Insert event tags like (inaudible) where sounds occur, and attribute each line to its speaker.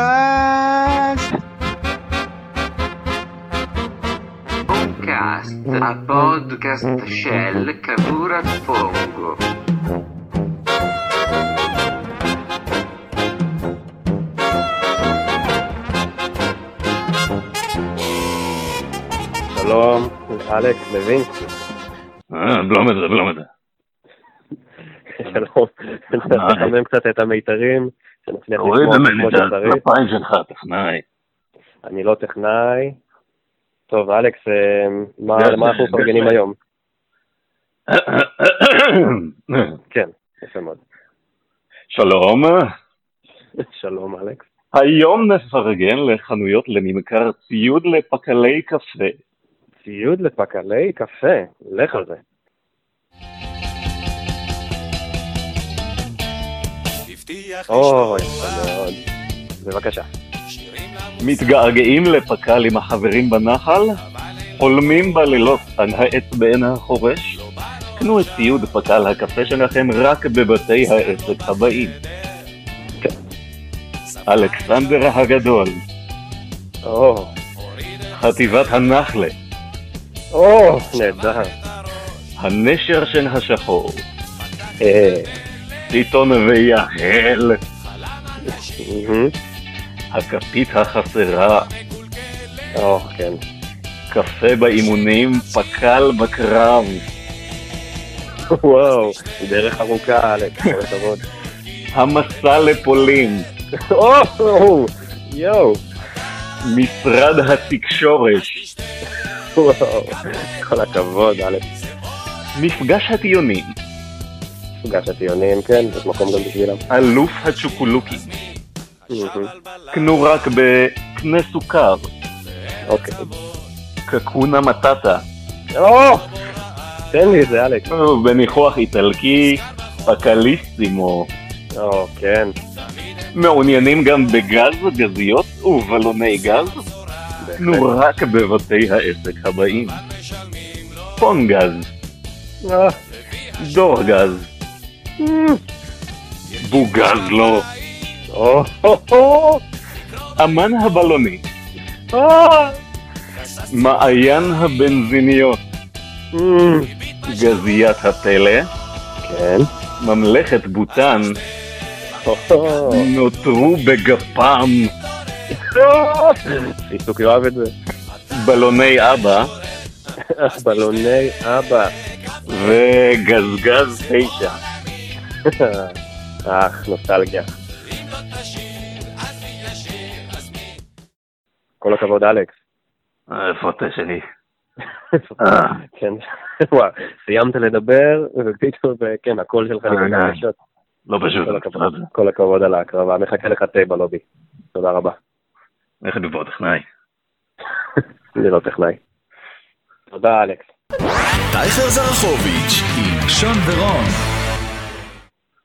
Speaker 1: הפודקאסט.
Speaker 2: פודקאסט, הפודקאסט של קבורת פונגו.
Speaker 3: שלום, אלכס לוינסקי.
Speaker 4: אה, בלומד זה, בלומד זה.
Speaker 3: שלום, נחמם קצת את המיתרים, שנצליח
Speaker 4: תוריד
Speaker 3: כן, לשמוע
Speaker 4: ממני
Speaker 3: כמו
Speaker 4: את
Speaker 3: שצריך.
Speaker 4: הכנפיים שלך, טכנאי.
Speaker 3: אני לא טכנאי. טוב, אלכס, אה, מה
Speaker 4: גש-
Speaker 3: מה אנחנו
Speaker 4: גש-
Speaker 3: מפרגנים
Speaker 4: גש-
Speaker 3: היום? כן, יפה מאוד.
Speaker 4: (coughs)
Speaker 3: (laughs)
Speaker 4: שלום,
Speaker 3: שלום, אלכס.
Speaker 4: היום נפרגן לחנויות לממכר ציוד לפקלי קפה.
Speaker 3: ציוד לפקלי קפה, לך על זה.
Speaker 1: הבטיח
Speaker 3: אוי,
Speaker 1: לשמור
Speaker 3: יפה מאוד. בבקשה.
Speaker 1: שירים למוסר,
Speaker 4: מתגעגעים לפקל עם החברים בנחל?
Speaker 1: אבל אין
Speaker 4: חולמים בלילות על העץ בעין החורש?
Speaker 1: לו בא לו
Speaker 4: קנו את ציוד פקל הקפה שלכם רק בבתי העסק הבאים. כן. אלכסנדר הגדול,
Speaker 3: או,
Speaker 4: חטיבת הנחלה,
Speaker 3: או, נהדר.
Speaker 4: הנשר של השחור,
Speaker 3: אה,
Speaker 4: טיטון ויהל,
Speaker 3: מהמם.
Speaker 4: הכפית החסרה,
Speaker 3: או, כן.
Speaker 4: קפה באימונים, פקל בקרב,
Speaker 3: וואו, דרך ארוכה, אלכס, כל הכבוד.
Speaker 4: המסע לפולין,
Speaker 3: או, יואו.
Speaker 4: משרד התקשורת,
Speaker 3: וואו, כל הכבוד, אלף.
Speaker 4: מפגש הטיונים,
Speaker 3: סוגה של טיעונים, כן, יש מקום גם בשבילם.
Speaker 4: אלוף הצ'וקולוקי,
Speaker 3: מהמם.
Speaker 4: קנו רק בקנה סוכר,
Speaker 3: אוקיי.
Speaker 4: קקונה מטאטה,
Speaker 3: או! תן לי את זה, אלכס.
Speaker 4: בניחוח איטלקי, פקליסימו,
Speaker 3: או, כן,
Speaker 4: מעוניינים גם בגז, גזיות ובלוני גז? קנו
Speaker 3: בהחלט.
Speaker 4: רק בבתי העסק הבאים. פונגז,
Speaker 3: אה,
Speaker 4: דורגז,
Speaker 3: מ,
Speaker 4: בוגז לא,
Speaker 3: או, או, או,
Speaker 4: אמן הבלוני,
Speaker 3: אה,
Speaker 4: מעיין הבנזיניות,
Speaker 3: מ,
Speaker 4: גזיית הפלא,
Speaker 3: כן,
Speaker 4: ממלכת בוטן,
Speaker 3: או, או,
Speaker 4: נותרו בגפם,
Speaker 3: או. עיסוק יאהב את זה.
Speaker 4: בלוני אבא
Speaker 3: בלוני אבא.
Speaker 4: וגזגז תשע.
Speaker 3: אך, נוסטלגיה. כל הכבוד, אלכס.
Speaker 4: אה, איפה אתה שלי? אה.
Speaker 3: כן, וואי, סיימת לדבר, ופתאום, אה, כן, הקול שלך
Speaker 4: אה,
Speaker 3: נגד
Speaker 4: אה.
Speaker 3: הרגשות.
Speaker 4: לא פשוט.
Speaker 3: כל הכבוד, כל הכבוד על ההקרבה, מחכה לך תה בלובי. תודה רבה.
Speaker 4: איך דיבור טכנאי?
Speaker 3: (laughs) אני לא טכנאי. תודה, אלכס.
Speaker 5: טייכר זרחוביץ' עם שון ורון